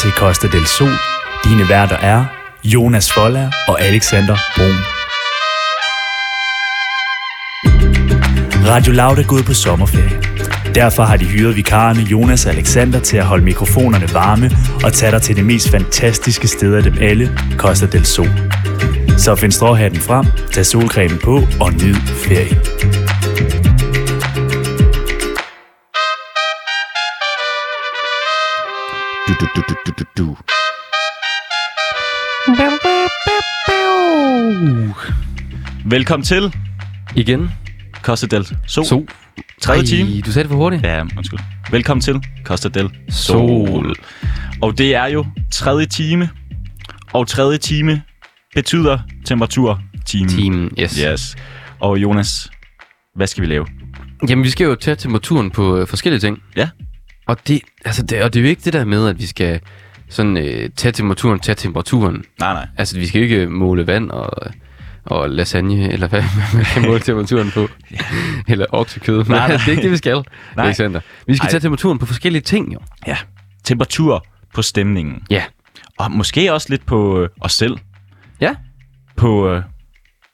til Costa del Sol. Dine værter er Jonas Folla og Alexander Brun. Radio Loud er gået på sommerferie. Derfor har de hyret vikarerne Jonas og Alexander til at holde mikrofonerne varme og tage dig til det mest fantastiske sted af dem alle, Costa del Sol. Så find stråhatten frem, tag solcremen på og nyd ferien. Du, du, du, du, du, du, du. Velkommen til Igen. Costa del Sol. Sol. Tredje time. Du sagde det for hurtigt. Ja, undskyld. Velkommen til Costa del Sol. Sol. Sol. Og det er jo tredje time. Og tredje time betyder temperatur time. Team, yes. Yeah. Yes. Og Jonas, hvad skal vi lave? Jamen, vi skal jo tage temperaturen på øh, forskellige ting. Ja. Og det, altså, det, og det er jo ikke det der med, at vi skal sådan øh, tage temperaturen, tage temperaturen. Nej, nej. Altså, vi skal jo ikke måle vand og, og lasagne, eller hvad man kan måle temperaturen på. eller oksekød. Men Nej, nej. det er ikke det, vi skal, Nej. Alexander. Vi skal Ej. tage temperaturen på forskellige ting, jo. Ja. Temperatur på stemningen. Ja. Og måske også lidt på øh, os selv. Ja. På, øh,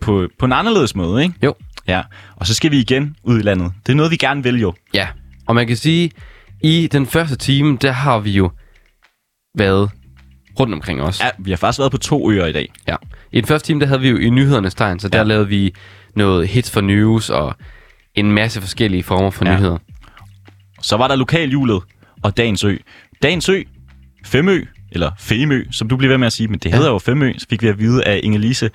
på, på en anderledes måde, ikke? Jo. Ja. Og så skal vi igen ud i landet. Det er noget, vi gerne vil jo. Ja, og man kan sige, i den første time, der har vi jo været rundt omkring os. Ja, vi har faktisk været på to øer i dag. Ja. I den første time, der havde vi jo i nyhedernes tegn, så der Ja. ja. lavede vi noget hits for news og en masse forskellige former for Ja. ja. nyheder. Så var der lokalhjulet og Dagens Ø. Dagens Ø, Femø, eller Femø, som du bliver ved med at sige, men det hedder jo Femø, så fik vi at vide af Inge-Lise.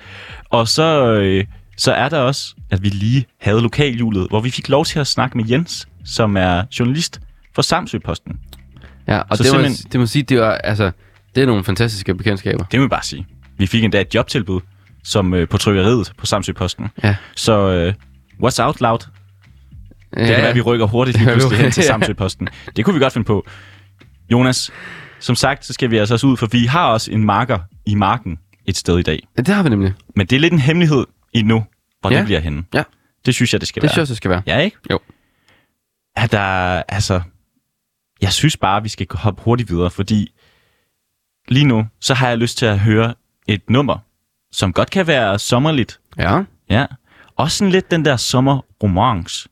Og så, øh, så er der også, at vi lige havde lokalhjulet, hvor vi fik lov til at snakke med Jens, som er journalist for Samsø-posten. Ja, og Så så det, simpelthen... simpelthen- må, det må sige, det var, altså, det er nogle fantastiske bekendtskaber. Det må vi bare sige. Vi fik endda et jobtilbud som øh, på trykkeriet på Samsø Posten. Ja. Så øh, what's out loud? Det kan være, at vi rykker hurtigt lige Ja, vi- pludselig hen til ja. Samsø Posten. Det kunne vi godt finde på. Jonas, som sagt, så skal vi altså også ud, for vi har også en marker i marken et sted i dag. ja, det har vi nemlig. Men det er lidt en hemmelighed endnu, hvor ja. Ja. det bliver henne. Ja. Det synes jeg, det skal Det være. synes jeg, det skal være. Ja, ikke? Jo. Er der, altså, jeg synes bare, vi skal hoppe hurtigt videre, fordi lige nu, så har jeg lyst til at høre et nummer, som godt kan være sommerligt. Ja. Ja. Også sådan lidt den der sommerromance,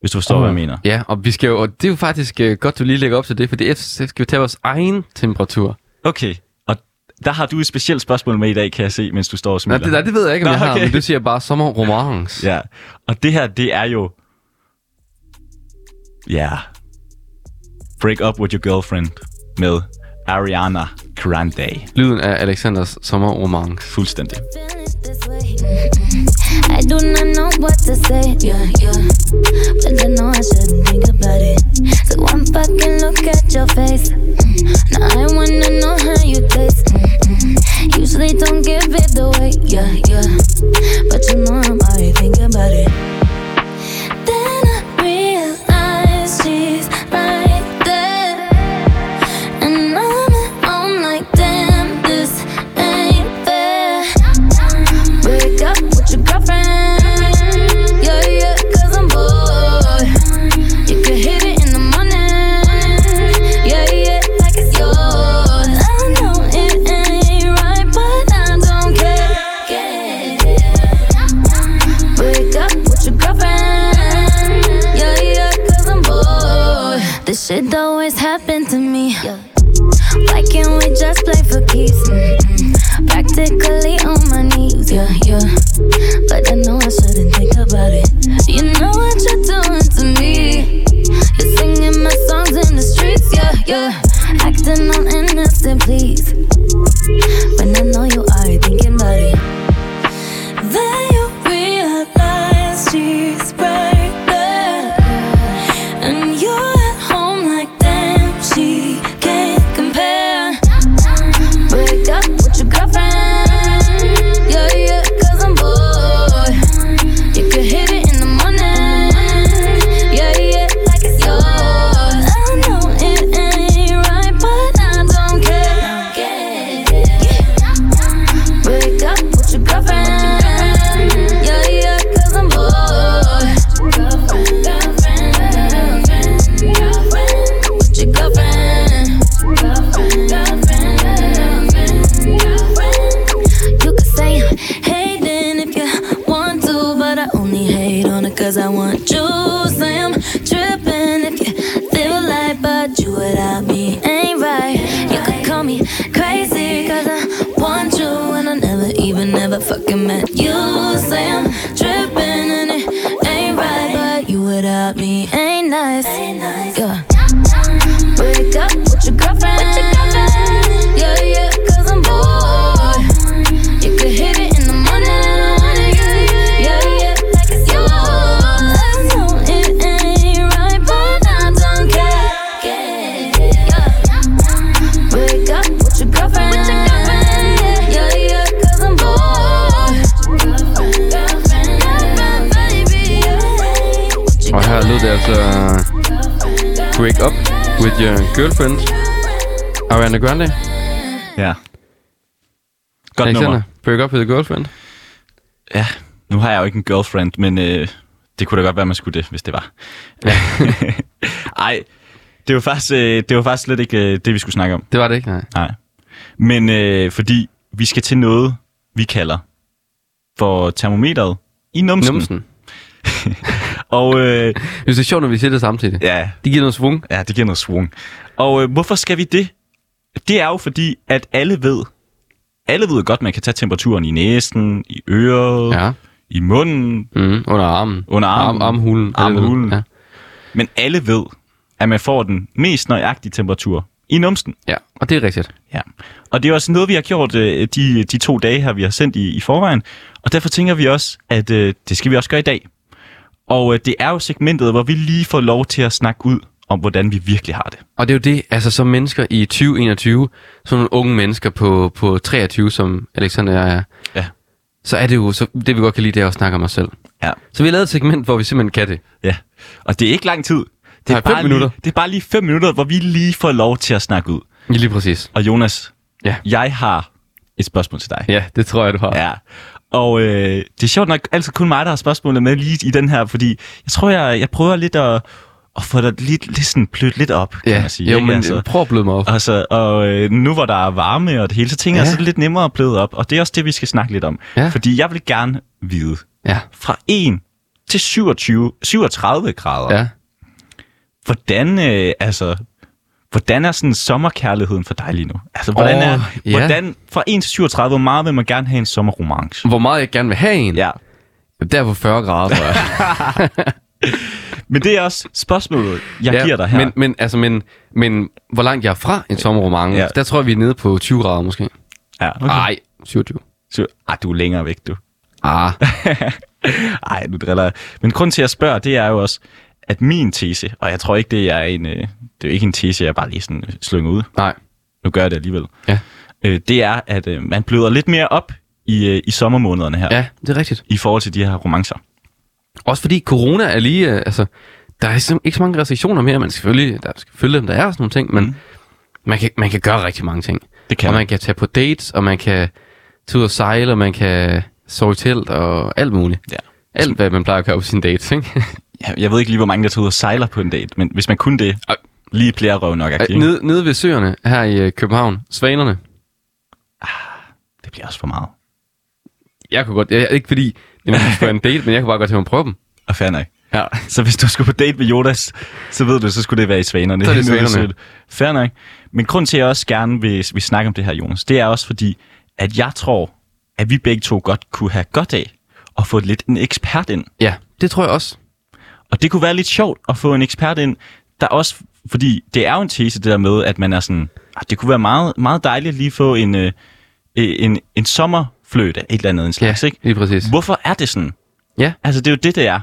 hvis du forstår, oh. hvad jeg mener. Ja, og vi skal jo, og det er jo faktisk øh, godt, du lige lægger op til det, for det skal vi tage vores egen temperatur. Okay, og der har du et specielt spørgsmål med i dag, kan jeg se, mens du står og Nej, smiler. det, nej, det ved jeg ikke, om Nå, jeg har, okay. men du siger bare sommerromance. Ja, og det her, det er jo... Ja. Yeah. Break up with your girlfriend med Ariana Grande. Lyden af Alexanders sommerromance. Fuldstændig. I do not know what to say, yeah, yeah. But I know I shouldn't think about it. So one fucking look at your face. Mm. Now I wanna know how you taste. Mm-mm. Usually don't give it away, yeah, yeah. But you know I'm already thinking about it. Then I realize she's right there. And I'm at home like, damn, this ain't fair. Break up with your girlfriend. Yeah, yeah, cause I'm bored. You can hit it in the morning. Yeah, yeah, like it's yours. I know it ain't right, but I don't care. Break up with your girlfriend. Yeah, yeah, cause I'm bored. This shit always happened to me. Why can't we just play for keeps? Mm-mm. Practically on my knees, yeah, yeah. But I know I shouldn't think about it. You know what you're doing to me. You're singing my songs in the streets, yeah, yeah. Acting on innocent, please. When I know you are thinking about it. Then you realize she's right there. And you're at home like damn, she can't compare. Break up with your girlfriend. Yeah, yeah, cause I'm bored. cause I want you. Say I'm tripping if you feel like, but you without me ain't right. You could call me crazy cause I want you and I never even ever fucking met you. Say I'm tripping and it ain't right, but you without me ain't nice. Yeah. Break up with your girlfriend. Yeah, yeah, cause I'm bored. You could hit it in the morning. Yeah, yeah, like it's yours. I know it ain't right, but I don't care. Yeah. Break up with your girlfriend. Yeah, yeah, cause I'm bored. Og her lød det altså Break Up With Your Girlfriend, Ariana Grande. Ja. Godt nummer. Alexander, Break Up With Your Girlfriend. Ja, nu har jeg jo ikke en girlfriend, men øh, det kunne da godt være, man skulle det, hvis det var. Ej, det var, faktisk, øh, det var faktisk slet ikke øh, det, vi skulle snakke om. Det var det ikke, nej. Nej. Men øh, fordi vi skal til noget, vi kalder for termometeret i numsen. numsen. Numsen. Og øh, Jeg synes, det er sjovt, når vi siger det samtidig. ja, Det giver noget svung. ja, det giver noget swung. Og øh, hvorfor skal vi det? Det er jo fordi, at alle ved, alle ved godt, man kan tage temperaturen i næsen, i øret, ja. Ja. i munden, Mm, under armen. Under armen. Arm, armhulen. Armhulen. Ja. Men alle ved, at man får den mest nøjagtige temperatur i numsten. ja, og det er rigtigt. Ja. Og det er også noget, vi har gjort øh, de, de to dage her, vi har sendt i, i forvejen. Og derfor tænker vi også, at øh, det skal vi også gøre i dag. Og øh, det er jo segmentet, hvor vi lige får lov til at snakke ud om, hvordan vi virkelig har det. Og det er jo det, altså som mennesker i 2021, sådan nogle unge mennesker på, på 23, som Alexander og jeg er, Ja. så er det jo, så det vi godt kan lide, det er at snakke om os selv. Ja. Så vi har lavet et segment, hvor vi simpelthen kan det. ja. Og det er ikke lang tid. Det Nej, fem bare minutter. Lige, det er bare lige fem minutter, hvor vi lige får lov til at snakke ud. Ja, Lige præcis. Og Jonas, Ja. jeg har et spørgsmål til dig. Ja, det tror jeg, du har. Ja. Og øh, det er sjovt nok altid kun mig, der har spørgsmålet med lige i den her, fordi jeg tror, jeg, jeg prøver lidt at, at få dig lidt, lidt sådan plødt lidt op, kan ja. man sige. jo, ikke? men altså, prøv at bløde mig op. altså, og øh, nu hvor der er varme og det hele, så tænker ja. jeg, Ja. så er det lidt nemmere at pløde op. Og det er også det, vi skal snakke lidt om. Ja. Fordi jeg vil gerne vide, Ja, fra 1 til 27, 37 grader, ja. hvordan, øh, altså, hvordan er sådan sommerkærligheden for dig lige nu? Altså, hvordan, Åh, er, ja. hvordan fra 1 til 37, hvor meget vil man gerne have en sommerromance? Hvor meget jeg gerne vil have en? Ja. Der på 40 grader, tror jeg. Men det er også spørgsmålet, jeg ja, giver dig her. Men, men, altså, men, men hvor langt jeg er fra en sommerromance, Ja. ja. der tror jeg, vi er nede på 20 grader måske. ja, okay. Nej, 27. Så, ah, du er længere væk, du. Ah, Ej, nu driller jeg. Men grunden til, at jeg spørger, det er jo også, at min tese, og jeg tror ikke, det er en, øh, det er jo ikke en tese, jeg bare lige sådan øh, slynger ud. nej. Nu gør jeg det alligevel. Ja. Øh, det er, at øh, man bløder lidt mere op i, øh, i sommermånederne her, Ja, det er rigtigt. i forhold til de her romancer. Også fordi corona er lige, øh, altså, der er simpelthen ikke så mange restriktioner mere, man selvfølgelig, der skal følge dem, der er og sådan nogle ting, men Mm. mm. man, kan, man kan gøre rigtig mange ting. Det kan og man. man kan tage på dates, og man kan tage ud og sejle, og man kan sove i telt, og alt muligt. Ja. Alt, hvad man plejer at gøre på sine dates, ikke? Jeg, jeg ved ikke lige, hvor mange, der tager ud og sejler på en date, men hvis man kunne det, Ej. lige flere røv nok. Øh, Okay? Nede, nede ved søerne her i øh, København, Svanerne, Det bliver også for meget. jeg kunne godt, jeg, ikke fordi det er for en date, men jeg kunne bare godt tænke mig at prøve dem. Og fair nok. Ja. Så hvis du skulle på date med Jonas, så ved du, så skulle det være i Svanerne. Så er det Nede i Svanerne. Sølle. Fair nok. Men grund til, at jeg også gerne vil, vil snakke om det her, Jonas, det er også fordi, at jeg tror, at vi begge to godt kunne have godt af at få lidt en ekspert ind. ja, det tror jeg også. Og det kunne være lidt sjovt at få en ekspert ind, der også, fordi det er jo en tese, det der med, at man er sådan, "Ah, det kunne være meget, meget dejligt at lige få en, øh, en, en sommerfløjt af et eller andet en Ja, slags, ikke? lige præcis. Hvorfor er det sådan? Ja. Altså, det er jo det, det er.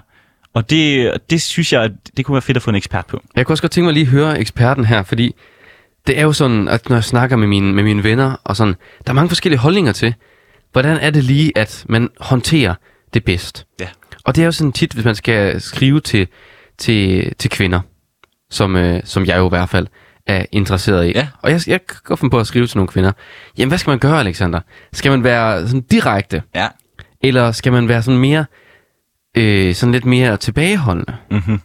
Og det, det synes jeg, at det kunne være fedt at få en ekspert på. Jeg kunne også godt tænke mig lige at høre eksperten her, fordi det er jo sådan, at når jeg snakker med mine, med mine venner, og sådan, der er mange forskellige holdninger til, hvordan er det lige, at man håndterer det bedst. Ja. Og det er jo sådan tit, hvis man skal skrive til, til, til kvinder, som, øh, som jeg jo i hvert fald er interesseret i. Ja. Og jeg, jeg kan godt finde på at skrive til nogle kvinder. Jamen, hvad skal man gøre, Alexander? Skal man være sådan direkte, Ja. eller skal man være sådan mere, øh, sådan lidt mere tilbageholdende? Mm-hmm.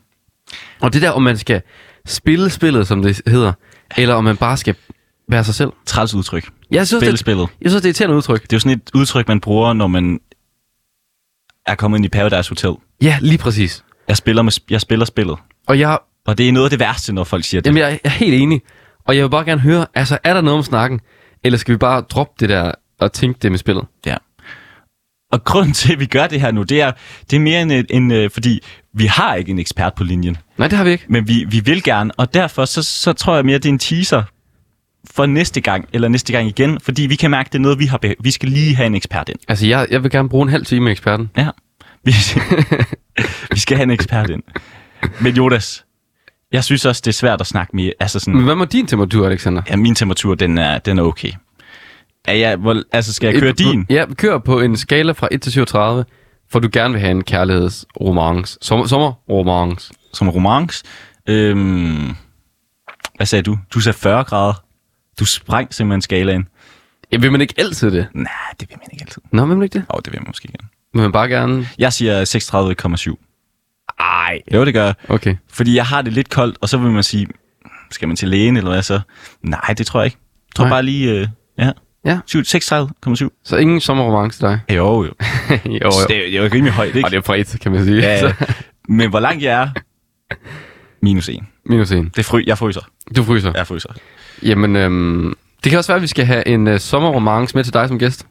Og det der, om man skal spille spillet, som det hedder, eller om man bare skal være sig selv. Træls udtryk. Jeg synes, det, Spillespillet. jeg synes, det er et irriterende udtryk. Det er jo sådan et udtryk, man bruger, når man er kommet ind i Paradise Hotel. Ja, lige præcis. Jeg spiller, med, sp- jeg spiller spillet. Og jeg, Og det er noget af det værste, når folk siger det. jamen, jeg er- jeg er helt enig. Og jeg vil bare gerne høre, altså er der noget om snakken? Eller skal vi bare droppe det der og tænke det med spillet? Ja. Og grunden til, at vi gør det her nu, det er, det er mere end, en, en, øh, fordi vi har ikke en ekspert på linjen, Nej, det har vi ikke. men vi, vi vil gerne, og derfor så, så tror jeg mere, at det er en teaser for næste gang, eller næste gang igen, fordi vi kan mærke, at det er noget, vi har behø- Vi skal lige have en ekspert ind. Altså, jeg, jeg vil gerne bruge en halv time med eksperten. Ja. Vi, vi skal have en ekspert ind. Men Jonas, jeg synes også, det er svært at snakke med, altså sådan, Men hvad må din temperatur, Alexander? ja, min temperatur, den er, den er okay. Er jeg, hvor, altså, skal jeg køre Et- din? Ja, kør på en skala fra 1 til 37, for du gerne vil have en kærlighedsromance. Sommer, sommerromance. som romance. Øhm, hvad sagde du? Du sagde 40 grader. Du sprængte simpelthen skalaen. Ja, vil man ikke altid det? Nej, det vil man ikke altid. Nå, vil man ikke det? Åh, oh, det vil man måske gerne. Vil man bare gerne... Jeg siger 36,7. Ej. Jo, det gør jeg. Okay. Fordi jeg har det lidt koldt, og så vil man sige, skal man til lægen eller hvad så? Nej, det tror jeg ikke. Jeg tror Nej. Nej. bare lige, øh, ja. Ja. Syv- 36,7. Så ingen sommerromance til dig? Jo, jo. jo. jo, jo. Det, er- det er jo rimelig højt, Og det ikke? er fra 1, kan man sige. Ja, Så, ja. Men hvor langt jeg er? Minus en. minus 1. Det er fry, jeg fryser. Du fryser. Ja. Jeg fryser. Jamen, øhm, det kan også være, at vi skal have en øh, sommerromance med til dig som gæst.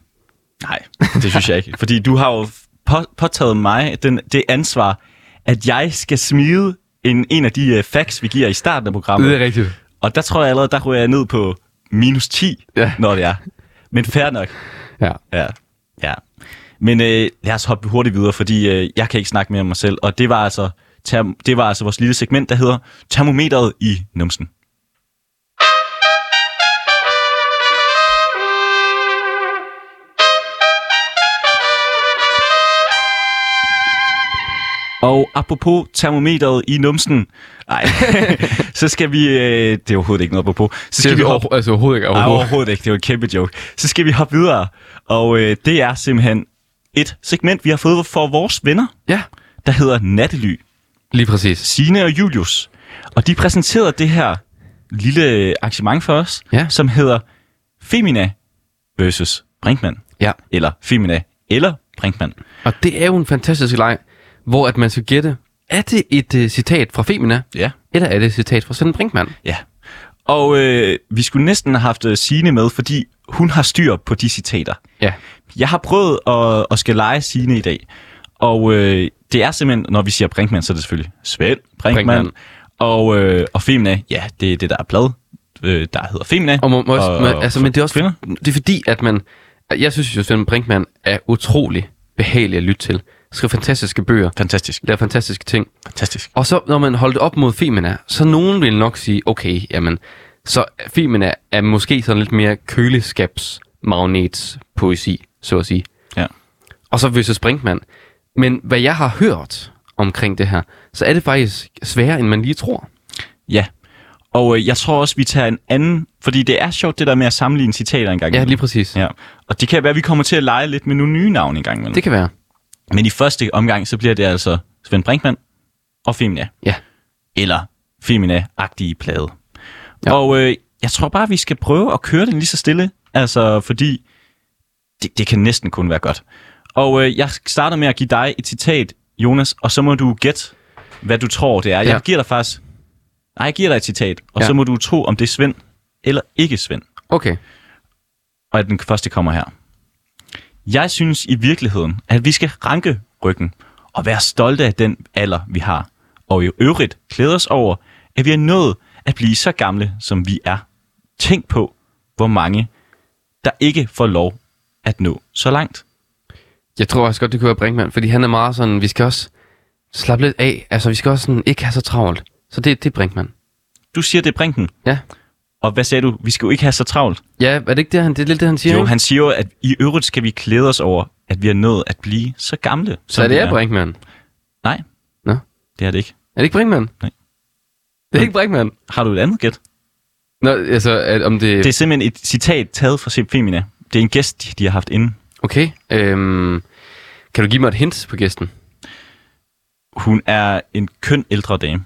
Nej, det synes jeg ikke. Fordi du har jo på, påtaget mig den, det ansvar, at jeg skal smide en, en af de uh, facts, vi giver i starten af programmet. er rigtigt. Og der tror jeg allerede, der ryger jeg ned på minus 10, Ja. ja. når det er. Men fair nok. Ja. Ja. ja. Men øh, lad os hoppe hurtigt videre, fordi øh, jeg kan ikke snakke mere om mig selv. Og det var altså, term- det var altså vores lille segment, der hedder Termometeret i Numsen. Og apropos termometeret i numsen, nej, så skal vi, øh, det er overhovedet ikke noget apropos, så Det skal er vi vi hoppe over, altså overhovedet ikke. overhovedet. Ej, Overhovedet. overhovedet ikke. Det var en kæmpe joke. Så skal vi hoppe videre. Og øh, det er simpelthen et segment, vi har fået for vores venner, Ja, der hedder Nattely. lige præcis. Sine og Julius. Og de præsenterede det her lille arrangement for os, Ja. som hedder Femina versus Brinkmann. Ja. Eller Femina eller Brinkmann. Og det er jo en fantastisk leg, hvor at man skal gætte, er det et uh, citat fra Femina, Ja. eller er det et citat fra Svend Brinkmann? Ja. Og øh, vi skulle næsten have haft Sine med, fordi hun har styr på de citater. Ja. Jeg har prøvet at, at skal lege sine i dag, og øh, det er simpelthen, når vi siger Brinkmann, så er det selvfølgelig Svend Brinkmann, Brinkmann. Brinkmann. Og, øh, og Femina, ja, det er det, der er blad, øh, der hedder Femina. Og må, må også, man, altså, men det er også kvinder. det er fordi, at man... Jeg synes jo, Svend Brinkmann er utrolig behagelig at lytte til. Skriver fantastiske bøger, Fantastisk, laver fantastiske ting. fantastisk. Og så, når man holdt det op mod Femina, så nogen vil nok sige, okay, jamen, så Femina er måske sådan lidt mere køleskabsmagnets poesi, så at sige. Ja. Og så Vøsse Brinkmann. Men hvad jeg har hørt omkring det her, så er det faktisk sværere, end man lige tror. Ja, og øh, jeg tror også, vi tager en anden, fordi det er sjovt det der med at sammenligne citater en gang Ja, imellem. lige præcis. Ja. Ja. Og det kan være, at vi kommer til at lege lidt med nogle nye navne en gang imellem. Det kan være. Men i første omgang, så bliver det altså Svend Brinkmann og Femina. Ja. eller Femina-agtige plade. Ja. Ja. Og øh, jeg tror bare, vi skal prøve at køre den lige så stille, altså fordi det, det kan næsten kun være godt. Og øh, jeg starter med at give dig et citat, Jonas, og så må du gætte, hvad du tror, det er. Ja. Jeg giver dig faktisk... Nej, jeg giver dig et citat, og Ja. ja. så må du tro, om det er Svend eller ikke Svend. Okay. Og at den første kommer her. Jeg synes i virkeligheden, at vi skal ranke ryggen og være stolte af den alder, vi har. Og i øvrigt klæde os over, at vi er nået at blive så gamle, som vi er. Tænk på, hvor mange, der ikke får lov at nå så langt. Jeg tror også godt, det kunne være Brinkmann, fordi han er meget sådan, vi skal også slappe lidt af. Altså, vi skal også sådan, ikke have så travlt. Så det, det er Brinkmann. Du siger, det er Brinken. Ja. Og hvad sagde du? Vi skal jo ikke have så travlt. Ja, er det ikke det, han, det er lidt det, han siger? Jo, ikke? han siger jo, at i øvrigt skal vi klæde os over, at vi er nået at blive så gamle. så er det er Brinkmann. Nej. Nå. Det er det ikke. Er det ikke Brinkmann? Nej. Det er ikke Brinkmann. Har du et andet gæt? Nå, altså, at, om det... Det er simpelthen et citat taget fra Sim Femina. Det er en gæst, de- de har haft inden. Okay. Øhm, kan du give mig et hint på gæsten? Hun er en køn ældre dame.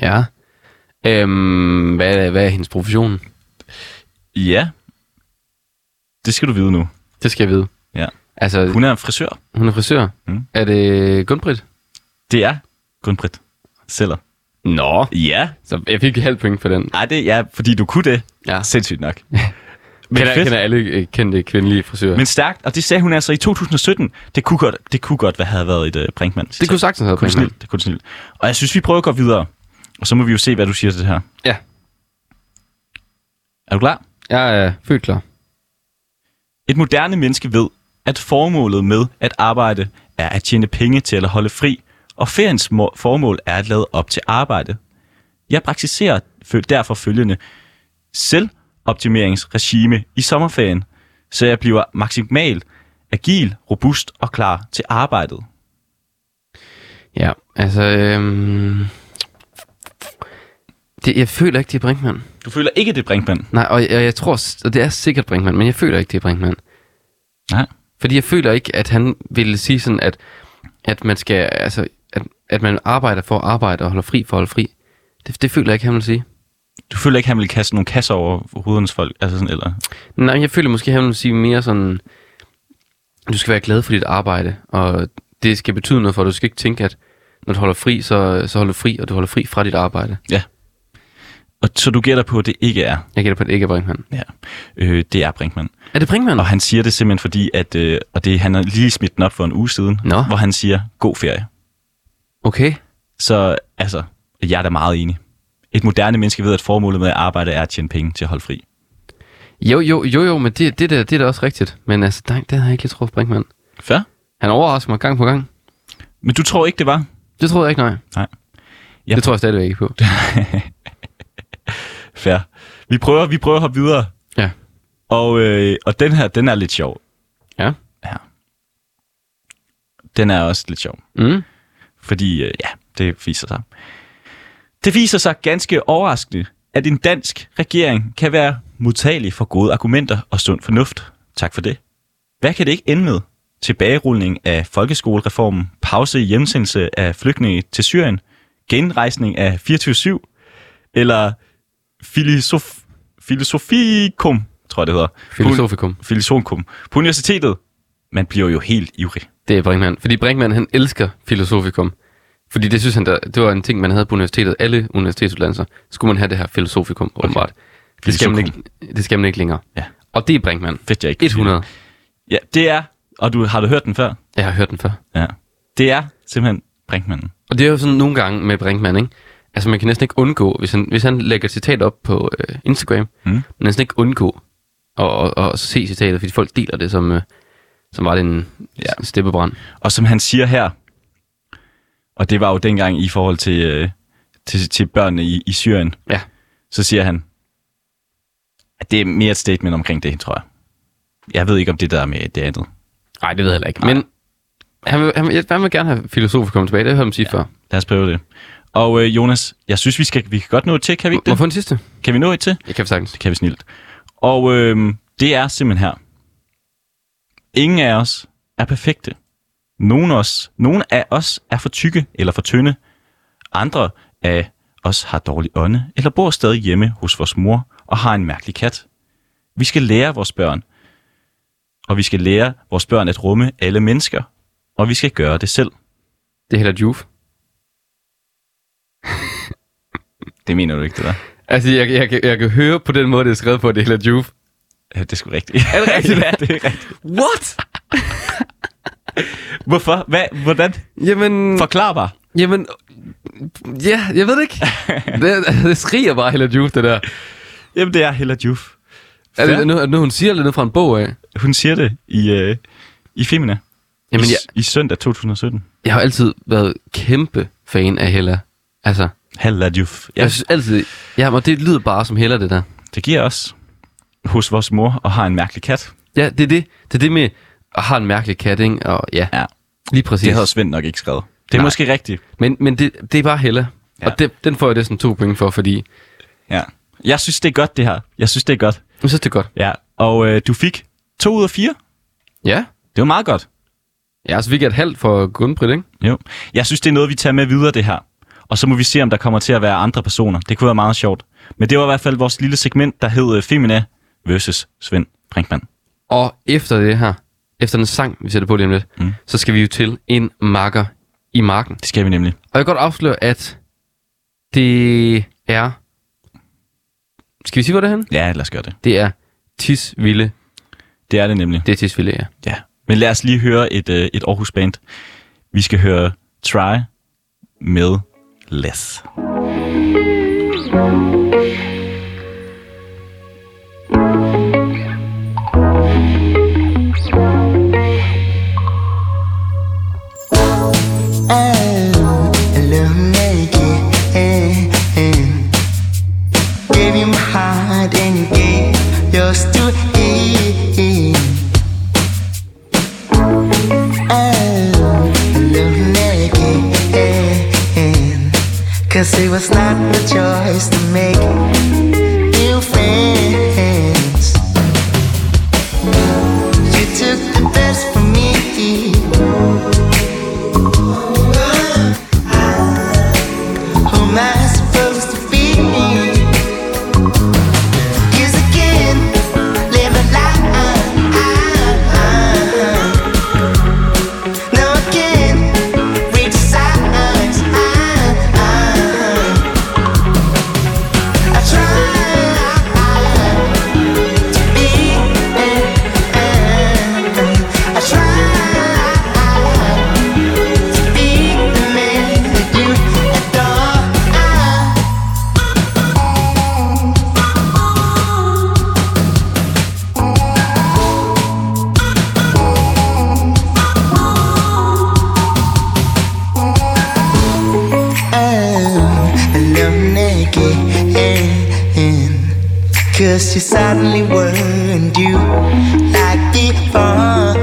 Ja. Øhm, hvad, er, hvad er hendes profession? Ja. Det skal du vide nu. Det skal jeg vide. Ja. Altså, hun, Hun er en frisør. hun er frisør. Mm. Mm. Er det Gunbrit? Det er grundprit. Sælger. Nå, Ja. så jeg fik halv point for den. Ej, det ja, fordi du kunne det. Ja. Sindssygt nok. Men kender, fedt. kender alle øh, kendte kvindelige frisører. Men, Men stærkt, og det sagde hun altså i 2017. Det kunne godt, det kunne godt hvad havde været et uh, Brinkmann. det kunne sagtens have kunne været snilt, det kunne snilt. Og jeg synes, vi prøver at gå videre. Og så må vi jo se, hvad du siger til det her. Ja, Er du klar? jeg er født klar. Et moderne menneske ved, at formålet med at arbejde er at tjene penge til at holde fri, og feriens må- formål er at lade op til arbejde. Jeg praktiserer fø- derfor følgende selvoptimeringsregime i sommerferien, så jeg bliver maksimalt agil, robust og klar til arbejdet. Ja, altså... Øhm, det, jeg føler ikke, det er Brinkmann. Du føler ikke, det er Brinkmann? Nej, og jeg, jeg tror... s- Og det er sikkert Brinkmann, men jeg føler ikke, det er Brinkmann. Nej. Fordi jeg føler ikke, at han ville sige sådan, at, at man skal... Altså, at, at man arbejder for at arbejde og holder fri for at holde fri. Det, det føler jeg ikke, han vil sige. Du føler ikke, han vil kaste nogle kasser over hovedens folk? Altså sådan, eller? Nej, jeg føler måske, han vil sige mere sådan... Du skal være glad for dit arbejde, og det skal betyde noget for dig. Du skal ikke tænke, at når du holder fri, så, så holder du fri, og du holder fri fra dit arbejde. Og så du gætter på, at det ikke er. Jeg gætter på, at det ikke er Brinkmann. Ja. Øh, det er Brinkmann. Er det Brinkmann? Og han siger det simpelthen fordi, at øh, og det, han har lige smidt den op for en uge siden, Nå. hvor han siger, god ferie. Okay. Så altså, jeg er da meget enig. Et moderne menneske ved, at formålet med at arbejde er at tjene penge til at holde fri. Jo, jo, jo, jo, men det, det, der, det er da også rigtigt. Men altså, nej, det havde jeg ikke lige troet, Brinkmann. Fair. Han overrasker mig gang på gang. Men du tror ikke, det var? Det troede jeg ikke, nej. Nej. Ja. Ja. Det tror jeg stadigvæk ikke på. Fair. Vi prøver, vi prøver at hoppe videre. Ja. Og, øh, og den her, den er lidt sjov. Ja. Ja. Den er også lidt sjov. Mm. fordi øh, ja, det viser sig. Det viser sig ganske overraskende, at en dansk regering kan være modtagelig for gode argumenter og sund fornuft. Tak for det. Hvad kan det ikke ende med? Tilbagerulning af folkeskolereformen, pause i hjemsendelse af flygtninge til Syrien, genrejsning af 24-7, eller filosof filosofikum, tror jeg det hedder. Filosofikum. På- Filosofikum. På universitetet. Man bliver jo helt ivrig. Det er Brinkmann. Fordi Brinkmann, han elsker filosofikum. Fordi det synes han, der, det var en ting, man havde på universitetet. Alle universitetsuddannelser skulle man have det her filosofikum, okay. åbenbart. Det skal, man ikke, Filosofikum. det skal man ikke længere. Ja. Og det er Brinkmann. Fedt, jeg ikke kan sige det. 100. Ja, det er, og du har du hørt den før? Jeg har hørt den før. Ja. Det er simpelthen Brinkmann. Og det er jo sådan nogle gange med Brinkmann, ikke? Altså man kan næsten ikke undgå, hvis han, hvis han lægger et citat op på øh, Instagram, mm. Mm. man kan næsten ikke undgå at, at, at, se citatet, fordi folk deler det som, øh, som var det en ja. Ja. steppebrand. Og som han siger her, og det var jo dengang i forhold til, øh, til, til børnene i, i Syrien, Ja. så siger han, at det er mere et statement omkring det, tror jeg. Jeg ved ikke, om det der er med det andet. Nej, det ved jeg heller ikke. Men han vil, han, vil, han vil gerne have filosofer komme tilbage, det har jeg hørt ham sige ja. før. Lad os prøve det. Og øh, Jonas, jeg synes, vi, skal, vi kan godt nå et til, kan vi ikke Må jeg det? få en sidste? Kan vi nå et til? Jeg kan sagtens. Det kan vi snilt. Og øh, det er simpelthen her. Ingen af os er perfekte. Nogen, os, nogen af os er for tykke eller for tynde. Andre af os har dårlig ånde eller bor stadig hjemme hos vores mor og har en mærkelig kat. Vi skal lære vores børn. Og vi skal lære vores børn at rumme alle mennesker. Og vi skal gøre det selv. Det er heller Juve. Det mener du ikke, det der? Altså, jeg, jeg, jeg, jeg kan høre på den måde, det er skrevet på, at det er heller Juve. Ja, det er sgu rigtigt. Er det rigtigt? ja, det er rigtigt. What? Hvorfor? Hvad? Hvordan? Jamen, Forklar bare. jamen, ja, jeg ved det ikke. det, det skriger bare heller Juve, det der. Jamen, det er Hella Juf. Er det, Fair. er det noget, er det noget, hun siger, eller er det noget fra en bog af? Hun siger det i, øh, i Femina. Jamen, I, jeg, I søndag 2017. jeg har altid været kæmpe fan af Hella. Altså, Hella Juf. ja. Ja, jeg synes altid... Ja, men det lyder bare som Hella, det der. det giver os hos vores mor og har en mærkelig kat. Ja, det er det. Det er det med at have en mærkelig kat, ikke? Og ja, Ja. lige præcis. Det havde Svend nok ikke skrevet. Det er Nej. Nej. måske rigtigt. Men, men det, det er bare Hella. Ja. Ja. Og det, den får jeg næsten to point for, fordi... Ja. Jeg synes, det er godt, det her. Jeg synes, det er godt. Jeg synes, det er godt. Ja. Og øh, du fik to ud af fire. Ja. Det var meget godt. Ja, så fik jeg et halvt for Gunnbrit, ikke? Jo. Jeg synes, det er noget, vi tager med videre, det her. Og så må vi se, om der kommer til at være andre personer. Det kunne være meget sjovt. Men det var i hvert fald vores lille segment, der hed øh, Femina versus Svend Brinkmann. Og efter det her, efter den sang, vi sætter på lige om lidt, mm. så skal vi jo til en makker i marken. Det skal vi nemlig. Og jeg kan godt afsløre, at det er... Skal vi sige, hvor det er henne? Ja, lad os gøre det. Det er Tisvilde. Det er det nemlig. Det er Tisvilde, ja. Ja. Men lad os lige høre et, øh, et Aarhus band. Vi skal høre Try med Less. Gave you my heart and you gave yours to him. Oh, love again. Cause it was not the choice to make new friends. You took the best from me. Who am I supposed to be? Kiss again, live a lie. No, I can't reach the signs. I try to be. I try be the man that you adore. Oh, alone again. Cause you suddenly weren't you like before.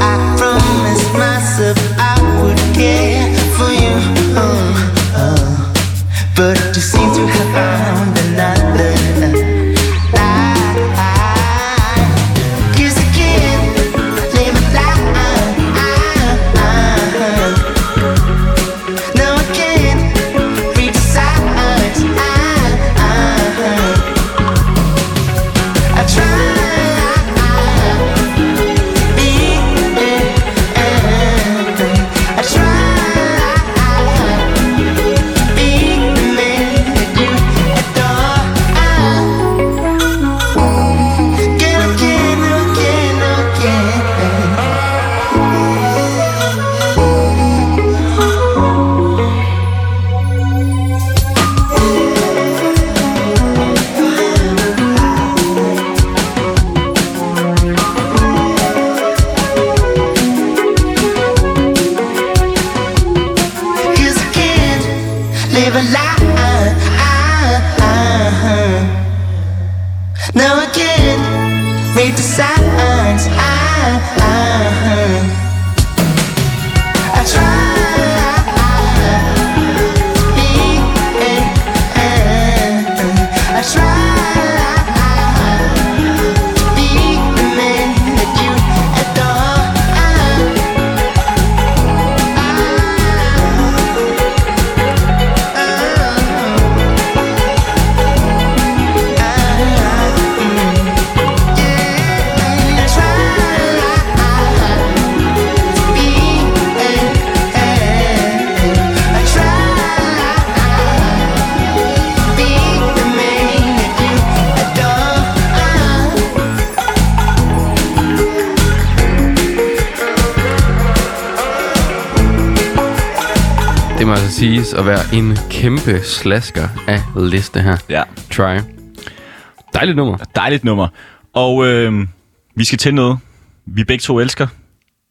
I promised myself I would care for you. Oh, oh. But you seem to have found another. lie. Kiss again, live a lie. No, I can't read the signs. I try to be. I try to be the man that you adore. Again, again, again, again. Cause I can't live a lie. No, I can't read the signs. I try. to be, I try to be the man that you adore. Det må altså siges at være en kæmpe slasker af liste her. Ja. Try. Dejligt nummer. Dejligt nummer. Og øh, vi skal til noget, vi begge to elsker.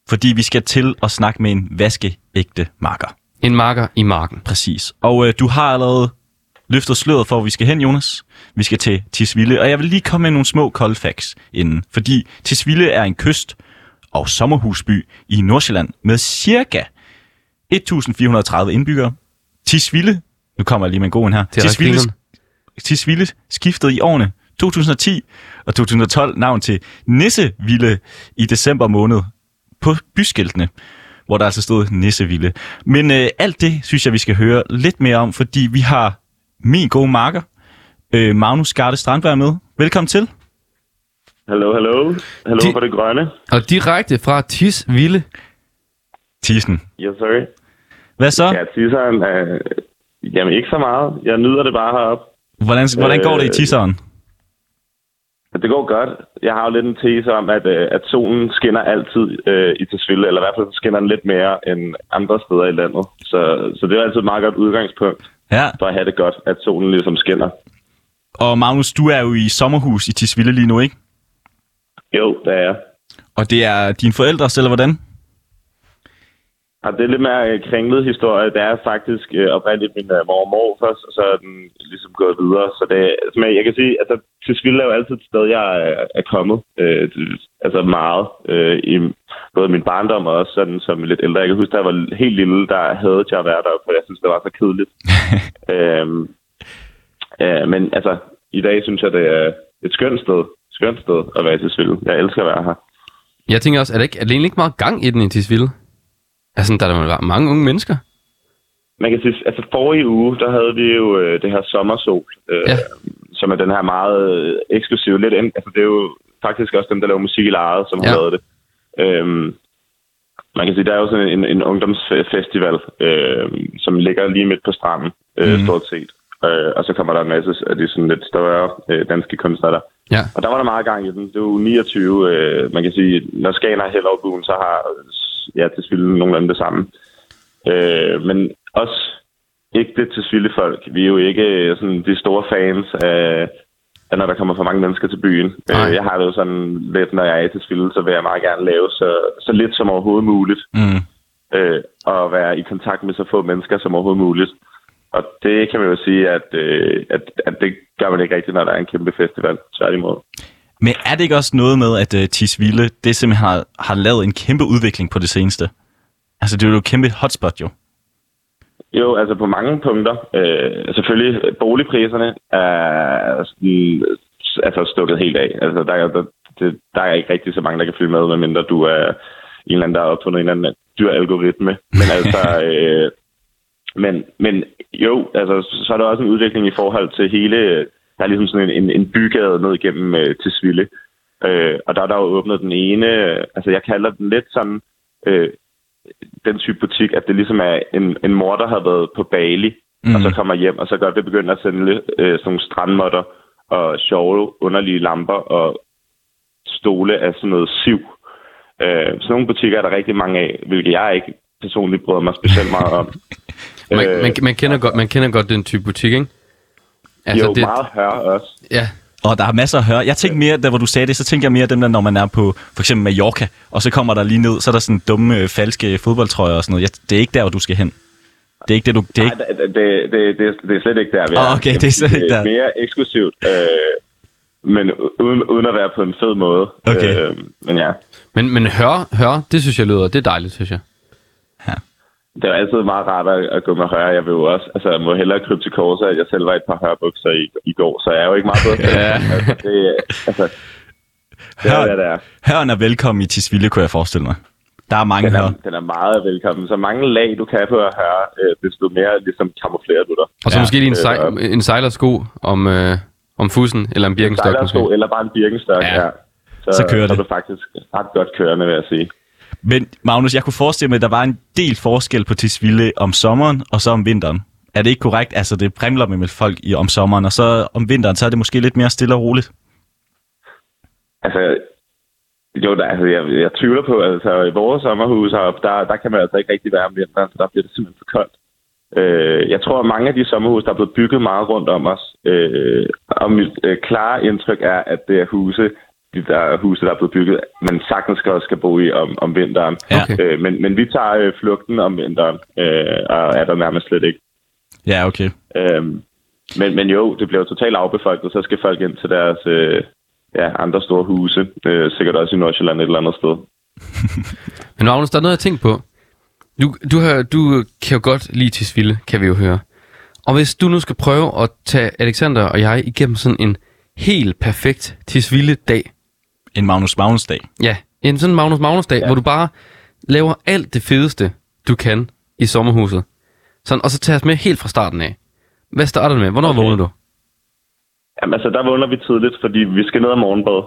Fordi vi skal til at snakke med en vaskeægte marker. En marker i marken. Præcis. Og øh, du har allerede løftet sløret for, hvor vi skal hen, Jonas. Vi skal til Tisvilde, og jeg vil lige komme med nogle små cold facts inden. Fordi Tisvilde er en kyst- og sommerhusby i Nordsjælland med cirka 1.430 indbyggere. Tisvilde, nu kommer jeg lige med en god en her. Det er ret Tisvilde, grineren. Tisvilde skiftede i årene 2010 og 2012 navn til Nisseville i december måned på byskiltene, hvor der altså stod Nisseville. Men øh, alt det synes jeg, vi skal høre lidt mere om, fordi vi har min gode marker, øh, Magnus Garde Strandberg med. Velkommen til. Hallo, hallo. Hallo De- De... for det grønne. Og direkte fra Tisvilde. Tisen. Yes, sir. Hvad så? Ja, tisseren er... Jamen, ikke så meget. Jeg nyder det bare heroppe. Hvordan, hvordan går det i Øh, tisseren? Men det går godt. Jeg har jo lidt en tese om, at, øh, at solen skinner altid øh, i Tisvilde, eller i hvert fald så skinner den lidt mere end andre steder i landet. Så, så det er altid et meget godt udgangspunkt Ja. for at have det godt, at solen ligesom skinner. Og Magnus, du er jo i sommerhus i Tisvilde lige nu, ikke? Jo, det er jeg. Og det er dine forældre, eller hvordan? Og det er lidt mere øh, kringlet historie. Det er faktisk øh, oprindeligt min øh, mor og mor først, og så er den ligesom gået videre. Så det, men jeg kan sige, at altså, Tisvilde er jo altid et sted, jeg er, er kommet. Øh, det- altså meget. Øh, I både min barndom og også sådan som lidt ældre. Jeg kan huske, da jeg var helt lille, der havde jeg at være deroppe, for jeg synes, det var så kedeligt. øhm, øh, men altså, i dag synes jeg, det er et skønt sted. Skønt sted at være i Tisvilde. Jeg elsker at være her. Jeg tænker også, er der, ikke, er der egentlig ikke meget gang i den i Tisvilde? Altså, der er der mange unge mennesker. man kan sige, altså forrige uge, der havde vi jo øh, det her sommersol, øh, Ja. ja. som er den her meget øh, eksklusive, lidt, en- altså det er jo faktisk også dem, der laver musik i lejet, som ja. Ja. har lavet det. Øhm, man kan sige, der er jo sådan en, en ungdomsfestival, øh, som ligger lige midt på stranden, øh, Mhm. mm. stort set. Øh, og så kommer der en masse af de sådan lidt større øh, danske kunstnere der. Ja. Og der var der meget gang i den. Det var uge 29. Øh, man kan sige, når Skagen har Hellerup så har ja, til Svilde nogenlunde det samme. Øh, men også ikke det til Svilde folk. Vi er jo ikke øh, sådan, de store fans af, af, når der kommer for mange mennesker til byen. Nej. Øh, jeg har det jo sådan lidt, når jeg er til Svilde, så vil jeg meget gerne lave så, så lidt som overhovedet muligt Mm. øh, og være i kontakt med så få mennesker som overhovedet muligt. Og det kan man jo sige, at, øh, at, at det gør man ikke rigtigt, når der er en kæmpe festival. Tværtimod. Men er det ikke også noget med, at uh, Tisvilde, det simpelthen har, har lavet en kæmpe udvikling på det seneste? Altså, det er jo et kæmpe hotspot, jo. Jo, altså på mange punkter. Øh, selvfølgelig, øh, boligpriserne er sådan, altså stukket helt af. Altså, der, er- der, det, der er ikke rigtig så mange, der kan følge med, medmindre du er en eller anden, der har opfundet en eller anden dyr algoritme. Men altså... Øh, men, men jo, altså, så er der også en udvikling i forhold til hele... øh, Der er ligesom sådan en, en, en bygade ned igennem øh, til Sville. Øh, og der er der jo åbnet den ene... øh, Altså, jeg kalder den lidt sådan... Øh, den type butik, at det ligesom er en, en mor, der har været på Bali, mm. og så kommer hjem, og så gør det begynder at sende øh, sådan nogle strandmåtter og sjove, underlige lamper og stole af sådan noget siv. Øh, sådan nogle butikker er der rigtig mange af, hvilket jeg ikke personligt bryder mig specielt meget om. Man, øh, man, man, kender godt, man kender godt den type butik, ikke? altså, jo, det... meget hør også. Ja, Og der er masser at høre. Jeg tænkte mere, da hvor du sagde det, så tænker jeg mere dem der, når man er på for eksempel Mallorca, og så kommer der lige ned, så er der sådan dumme, øh, falske fodboldtrøjer og sådan noget. Jeg, det er ikke der, hvor du skal hen. Det er ikke det, du... Det er ikke... Nej, det, det, det, det, er- det er slet ikke der, vi Åh, okay, det er slet Det ikke der. mere eksklusivt, øh, men uden, uden at være på en fed måde. Okay. Øh, men ja. men, men hør, hør, det synes jeg lyder, det er dejligt, synes jeg. Det er jo altid meget rart at, at gå med højre. Jeg vil jo også, altså jeg må hellere krybe til korset, at jeg selv var i et par højrebukser i, i går, så jeg er jo ikke meget bedre. Ja. altså, det, er- altså, det er, hvad det er. Høren er velkommen i Tisvilde, kunne jeg forestille mig. Der er mange Den er, her. den er meget velkommen. Så mange lag, du kan på at høre, øh, desto mere ligesom kamuflerer du dig. Og så Ja, ja, måske lige en, øh, sej, og- en sejlersko om, øh, om fussen, eller en birkenstok måske. Sejlersko eller bare en birkenstok, Ja. ja. ja. Så, Så kører så er det. du faktisk ret godt kørende, vil jeg sige. Men Magnus, jeg kunne forestille mig, at der var en del forskel på Tisvilde om sommeren og så om vinteren. Er det ikke korrekt? Altså, det primler med folk i om sommeren, og så om vinteren, så er det måske lidt mere stille og roligt. Altså, jo, der, altså, jeg, jeg tvivler på, altså i vores sommerhus heroppe, der, der kan man altså ikke rigtig være om vinteren, for der bliver det simpelthen for koldt. Øh, jeg tror, at mange af de sommerhus, der er blevet bygget meget rundt om os, øh, og mit øh, klare indtryk er, at det er huse, de der huse, der er blevet bygget, man sagtens skal også skal bo i om, om vinteren. Ja. Okay. Øh, men, men vi tager øh, flugten om vinteren, øh, og er der nærmest slet ikke. Ja, okay. Øhm, men, men jo, det bliver jo totalt afbefolket, så skal folk ind til deres øh, ja, andre store huse, øh, sikkert også i Nordsjælland et eller andet sted. Men Magnus, der er noget, jeg tænker på. Du, du, har, du kan jo godt lide til Svilde, kan vi jo høre. Og hvis du nu skal prøve at tage Alexander og jeg igennem sådan en helt perfekt Tisvilde dag. En Magnus Magnus dag. Ja, en sådan Magnus Magnus dag, ja. hvor du bare laver alt det fedeste, du kan i sommerhuset. Sådan, og så tager os med helt fra starten af. Hvad starter du med? Hvornår okay. vågner du? Jamen altså, der vågner vi tidligt, fordi vi skal ned om morgenbad.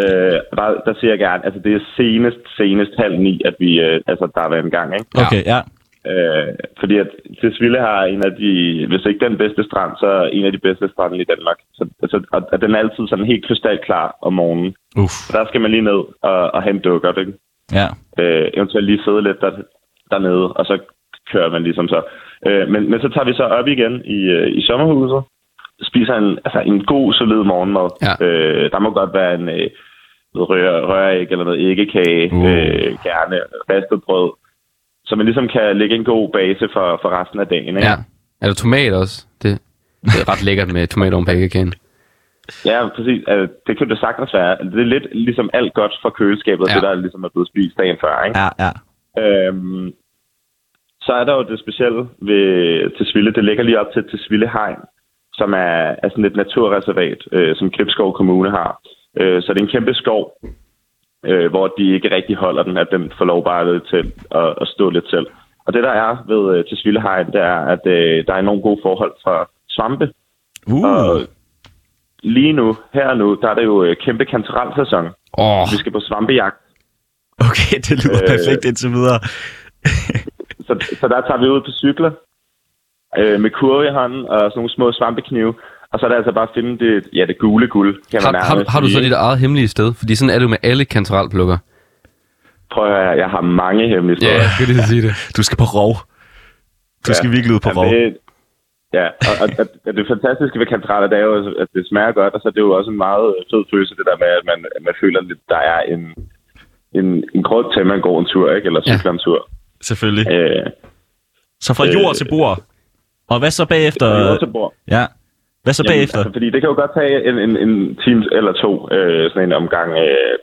Øh, og der, der siger jeg gerne, altså det er senest, senest halv ni, at vi, øh, altså der har været en gang, ikke? Okay, ja. Øh, fordi at Tisvilde har en af de, hvis ikke den bedste strand, så en af de bedste strande i Danmark. Så, altså, og, og den er altid sådan helt krystalklar om morgenen. Uff. Så der skal man lige ned og, og have en dukkert, ikke? Ja. Øh, eventuelt lige sidde lidt der, dernede, og så kører man ligesom så. Øh, men, men så tager vi så op igen i, øh, i sommerhuset, spiser en, altså en god, solid morgenmad. Ja. Øh, der må godt være en øh, noget rør, røræg eller noget æggekage, Uh. uh. øh, gerne ristet brød, så man ligesom kan lægge en god base for, for resten af dagen. Ikke? Ja. Er der tomat også? Det, det er ret lækkert med tomat oven på æggekagen. ja, præcis. Altså, det kunne det sagtens være. Det er lidt ligesom alt godt fra køleskabet, Ja. ja. det der ligesom er blevet spist dagen før. Ikke? Ja, ja. Øhm, så er der jo det specielle ved Tisvilde. Det ligger lige op til Tisvilde Hegn, som er, er sådan et naturreservat, øh, som Klipskov Kommune har. Øh, så det er en kæmpe skov, øh, hvor de ikke rigtig holder den, at den får lov bare lidt til at, at stå lidt selv. Og det, der er ved øh, Tisvilde Hegn, det er, at øh, der er enormt gode forhold for svampe. Og Uh. lige nu, her og nu, der er det jo øh, kæmpe kantarelsæson. Åh, oh, Vi skal på svampejagt. Okay, det lyder Øh. perfekt indtil videre. så, så der tager vi ud på cykler øh, med kurve i hånden og sådan nogle små svampeknive. Og så er det altså bare at finde det, ja, det gule guld, kan man har, har, nærmest har du så sige, dit ikke? eget hemmelige sted? Fordi sådan er det jo med alle kantarelplukker. Prøv at høre, jeg har mange hemmelige steder. jeg skal lige sige det. Du skal på rov. Du skal virkelig ud på rov. Jamen, det- Ja, og, og, og, og det fantastiske ved kantareller, det er jo, at det smager godt, og så er det jo også en meget fed følelse, det der med, at man, at man føler, at der er en, en, en grund til, at man går en tur, ikke? eller Ja. cykler en tur. Selvfølgelig. Øh, Så fra jord øh, til bord. Og hvad så bagefter? øh, øh, Ja. Hvad så Jamen, bagefter? Altså, fordi det kan jo godt tage en, en, en time eller to, øh, sådan en omgang øh,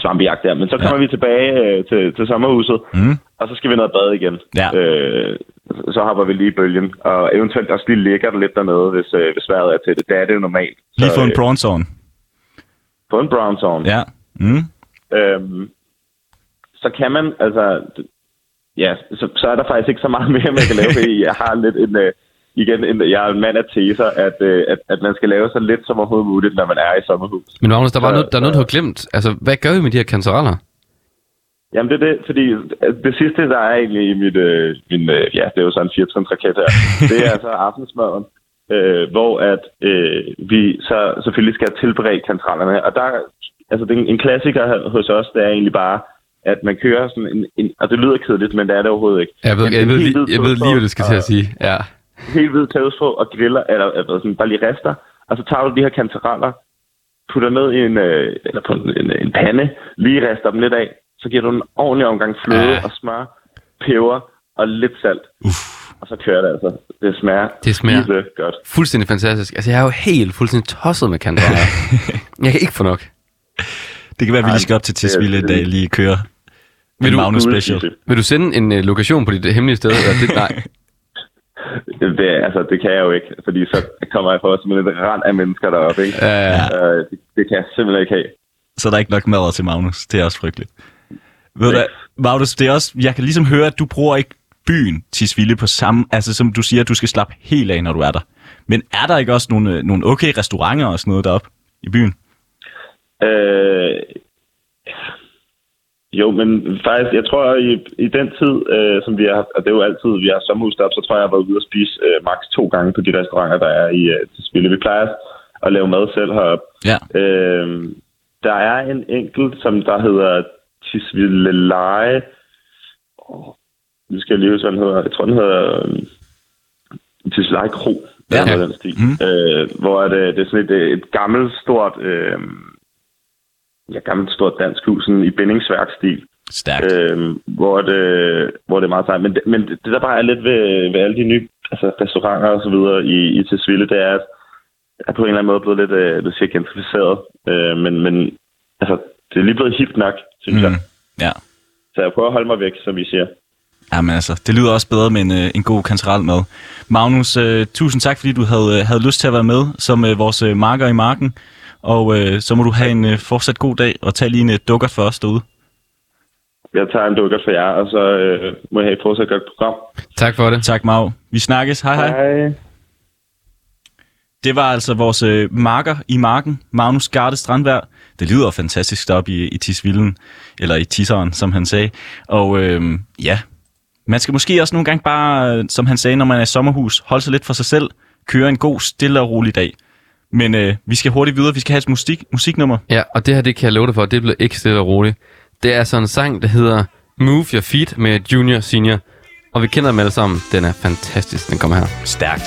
svampejagt der. Men så kommer ja. vi tilbage øh, til, til sommerhuset, Mm. og så skal vi ned og bade igen. Ja. Øh, så hopper vi lige i bølgen, og eventuelt også lige ligger der lidt dernede, hvis, øh, hvis vejret er til det. Det er det jo normalt. Lige få en brown. prawn zone. Få en brown zone. Ja. Mm. Øhm, så kan man, altså, d- ja, så, så er der faktisk ikke så meget mere, man kan lave, fordi jeg har lidt en, øh, igen, en, jeg er en mand af teser, at, øh, at, at man skal lave så lidt som overhovedet muligt, når man er i sommerhus. Men Magnus, der var Så- noget, der er noget, du så- har glemt. Altså, hvad gør vi med de her kantareller? Jamen det er det, fordi øh, det sidste, der er egentlig i mit, øh, min, øh, ja, det er jo sådan en 4 raket her, det er altså aftensmaden, øh, hvor at øh, vi så selvfølgelig skal tilberede kantrallerne. Og der, altså det er en, en klassiker her hos os, det er egentlig bare, at man kører sådan en, en og det lyder kedeligt, men det er det overhovedet ikke. Jeg ved, En- jeg en ved, helt lige, hvid jeg ved lige, hvad du skal til tøvsfrø at sige. Ja. og- Helt hvid tøvsfrø og griller, eller, eller sådan, bare lige rester, og så tager du de her kantareller, putter ned i en, øh, eller på en, en, en pande, lige rester dem lidt af, så giver du en ordentlig omgang fløde Ja. ja. og smør, peber og lidt salt. Uff. Og så kører det altså. Det smager, Det smager. skide godt. Fuldstændig fantastisk. Altså, jeg er jo helt fuldstændig tosset med kantareller. jeg kan ikke få nok. Det kan være, at vi lige skal op til er- Tisvilde en dag lige køre. Med du- Magnus Uden Special. sild. Vil du sende en uh, lokation på dit hemmelige sted? Eller det, nej. Det, det, altså, det kan jeg jo ikke, fordi så kommer jeg for som et rand af mennesker deroppe. Ikke? Ja, ja, ja. Øh, det, det kan jeg simpelthen ikke have. så der er ikke nok mad til Magnus. Det er også frygteligt. Ved du, hvad, Magnus, det er også, jeg kan ligesom høre, at du bruger ikke byen Tisvilde på samme, altså som du siger, at du skal slappe helt af, når du er der. Men er der ikke også nogle, øh, nogle okay restauranter og sådan noget deroppe i byen? Øh, jo, men faktisk, jeg tror, i, i den tid, øh, som vi har haft, og det er jo altid, vi har sommerhus deroppe, så tror jeg, jeg har været ude og spise øh, maks to gange på de restauranter, der er i øh, til spille. Vi plejer at lave mad selv heroppe. Ja. Øh, der er en enkelt, som der hedder Tisvilde Leje. Åh, Nu skal jeg lige huske, hvad den hedder. Jeg tror, den hedder øh, Tisleje Kro. Ja. Eller noget i den stil. Mhm. Øh, hvor er det, det er sådan et, øh, et gammelt, stort... Øh, ja, gammelt stort dansk hus, sådan i bindingsværkstil, Stærkt. Øh. øhm, hvor, det, hvor det er meget sejt. Men, det- men det, der bare er lidt ved, ved alle de nye altså restauranter og så videre i, i Tisvilde, det er, at jeg på en eller anden måde er blevet lidt, øh, lidt siger, gentrificeret. Øh, men, men altså, det er lige blevet hip nok, synes mm. jeg. Mm. Ja. Så jeg prøver at holde mig væk, som I siger. Jamen altså, det lyder også bedre med en, øh, en god kantarel mad. Magnus, øh, tusind tak, fordi du havde, øh, havde lyst til at være med som øh, vores øh, marker i marken. Og øh, så må du have en øh, fortsat god dag, og tag lige en øh, dukker for os derude. Jeg tager en dukker for jer, og så øh, må jeg have et fortsat godt program. Tak for det. Tak, Mag. Vi snakkes. Hej, hej. Hej. Det var altså vores øh, marker i marken, Magnus Garde Strandvær, det lyder fantastisk deroppe i, i Tisvilden, eller i Tisseren, som han sagde. Og øhm, ja, man skal måske også nogle gange bare, øh, som han sagde, når man er i sommerhus, holde sig lidt for sig selv, køre en god, stille og rolig dag. Men øh, vi skal hurtigt videre, vi skal have et musik, musiknummer. Ja, og det her, det kan jeg love dig for, det bliver ikke stille og roligt. Det er sådan en sang, der hedder Move Your Feet med Junior Senior. Og vi kender dem alle sammen. Den er fantastisk, den kommer her. Stærkt.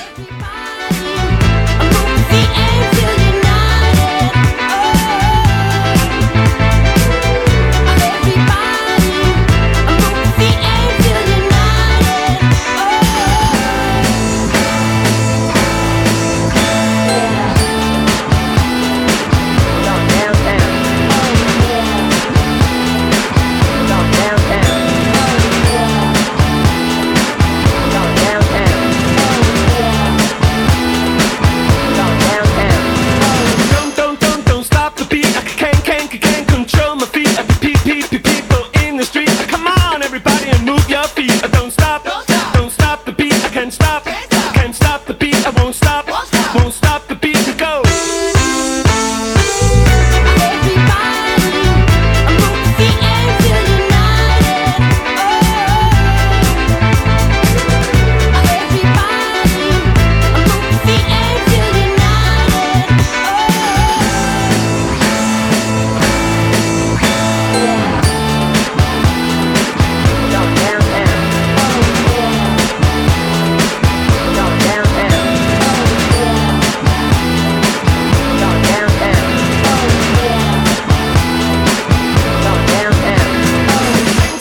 Don't, don't, don't, don't stop the beat. I can't, can't, can't control my feet. I can peep, peep, peep, people in the street. Come on, everybody, and move your feet. I don't stop, don't stop the beat. I can't stop, can't stop the beat. I won't stop, won't stop the beat. We go.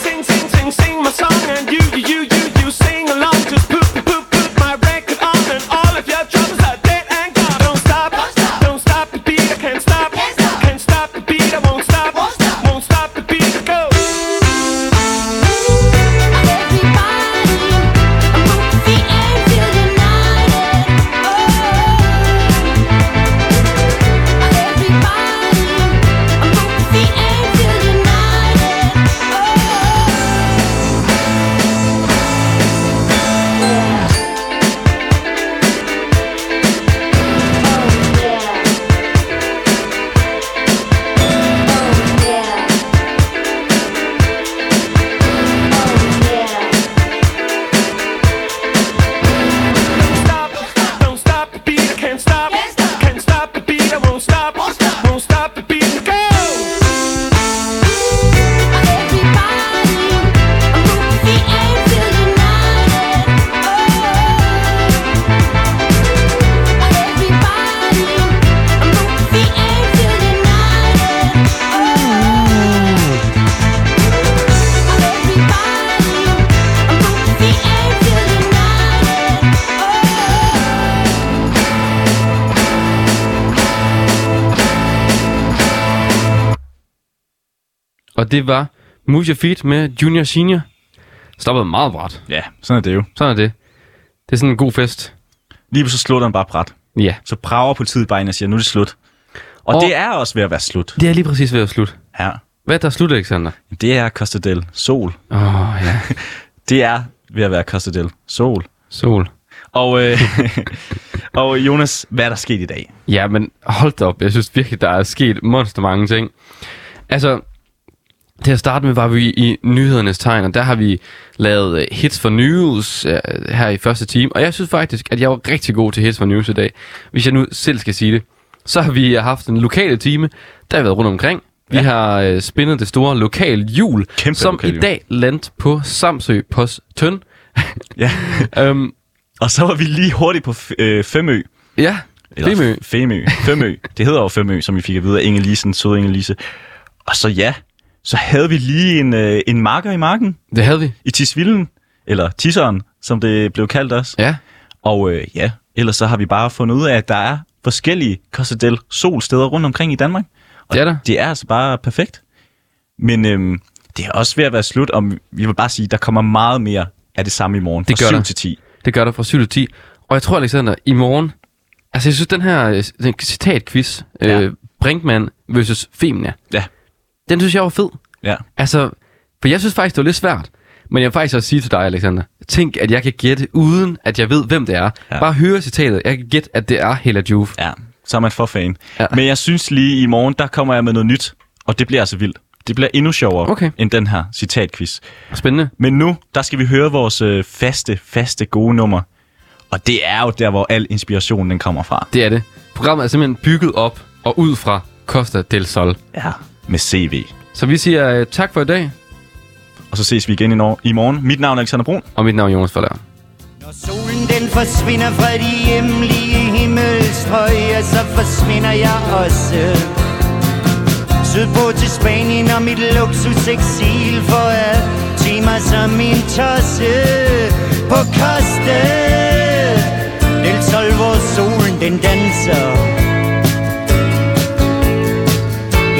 Sing, sing, sing, sing my song, and you, you, you, you, you sing along. Just poop, poop, poop my record on, and all of your troubles are dead and gone. Don't stop, don't stop the beat. I can't stop, can't stop the beat. I won't stop, won't stop the beat. I go. Oh, Oh, Stop, don't stop the beat. I can't stop, can't stop the beat. I won't stop, won't stop the beat. We go. Oh. Oh. Og det var Move Your Feet med Junior Senior. Stoppede meget bræt. Ja, sådan er det jo. Sådan er det. Det er sådan en god fest. Lige så slutter han bare bræt. Ja. Så prager politiet bare ind og siger, nu er det slut. Og, Og- og det er også ved at være slut. Det er lige præcis ved at slutte. Ja. Hvad er der slut, Alexander? Det er Costa del Sol. Åh, oh, ja. Det er ved at være Costa del Sol. Sol. Og, øh, og Jonas, hvad er der sket i dag? Ja, men hold da op. Jeg synes virkelig, der er sket monster mange ting. Altså, til at starte med var vi i nyhedernes tegn, og der har vi lavet øh, hits for news øh, her i første time. Og jeg synes faktisk, at jeg var rigtig god til hits for news i dag, hvis jeg nu selv skal sige det. Så har vi øh, haft en lokale time, der har været rundt omkring. Vi ja. har øh, spændet det store lokale jul, Kæmpe som lokale i hjul. dag landte på Samsø Post Tøn. Ja. øhm, Og så var vi lige hurtigt på F- øh, Femø. ja, det er Femø. Femø. Det hedder jo Femø, som vi fik at vide af Inge Lisen, søde Inge Lise. Og så ja, så havde vi lige en, øh, en marker i marken Det havde vi. i Tisvillen, eller Tisseren, som det blev kaldt også. Ja. Og øh, ja, ellers så har vi bare fundet ud af, at der er forskellige Costa del Sol steder rundt omkring i Danmark. Og Det er der. Det er altså bare perfekt. Men øhm, det er også ved at være slut, og vi vil bare sige, der kommer meget mere af det samme i morgen. Det fra gør 7 der. til 10. Det gør der fra 7 til 10. Og jeg tror, Alexander, i morgen... Altså, jeg synes, den her øh, den citatquiz, Ja. øh, Brinkmann versus Femina, Ja, den synes jeg var fed. ja. Altså, for jeg synes faktisk, det var lidt svært. Men jeg vil faktisk også sige til dig, Alexander, tænk, at jeg kan gætte, uden at jeg ved, hvem det er. Ja. Ja. Bare høre citatet. Jeg kan gætte, at det er Hella Juve. ja. så er man for fan. Ja. Ja. Men jeg synes lige i morgen, der kommer jeg med noget nyt, og det bliver altså vildt. Det bliver endnu sjovere Okay. end den her citatquiz. Spændende. Men nu, der skal vi høre vores øh, faste, faste gode nummer. Og det er jo der, hvor al inspirationen den kommer fra. Det er det. Programmet er simpelthen bygget op og ud fra Costa del Sol. Ja. Med CV. Så vi siger øh, tak for i dag, Og så ses vi igen i, nor- i morgen. Mit navn er Alexander Brun. og mit navn er Jonas Forlærer. Når solen den forsvinder fra de hjemlige himmelstrøg, ja, så forsvinder jeg også. Sydpå til Spanien og mit luksuseksil for at tage mig som min tosse på koste. Del sol, hvor solen den danser.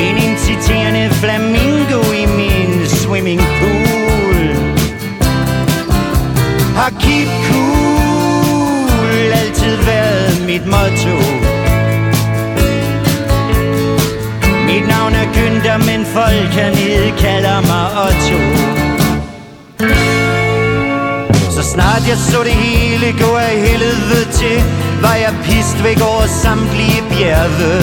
En inciterende flamingo i min swimming pool. Har keep cool altid været mit motto Mit navn er Günther, men folk hernede kalder mig Otto Så snart jeg så det hele gå af helvede til Var jeg pist væk over samtlige bjerge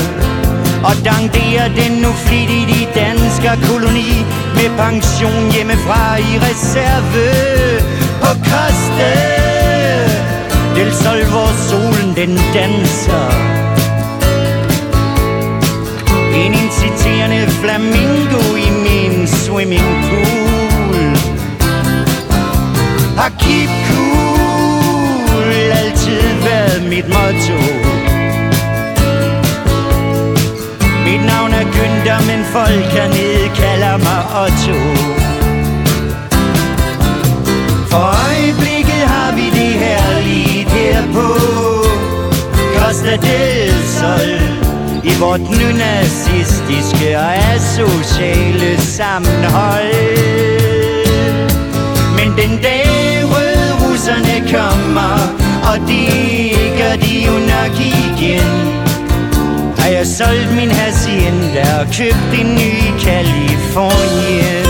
og dangderer den nu flittigt i dansker koloni Med pension hjemmefra i reserve På koste Del sol, hvor solen den danser En inciterende flamingo i min swimming pool Har keep cool altid været mit motto Mit navn er Günther, men folk hernede kalder mig Otto For øjeblikket har vi det her lige her på Costa del Sol I vort nynazistiske og asociale sammenhold men den dag røde russerne kommer, og det gør de jo nok igen. Har jeg solgt min hacienda og købt en ny i Kalifornien.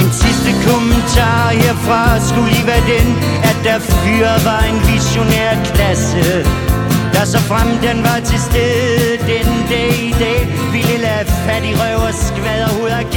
En sidste kommentar herfra skulle lige være den, at der fyre var en visionær klasse. Der så frem den var til stede den dag i dag, ville lade fattig røv og skvader hoveder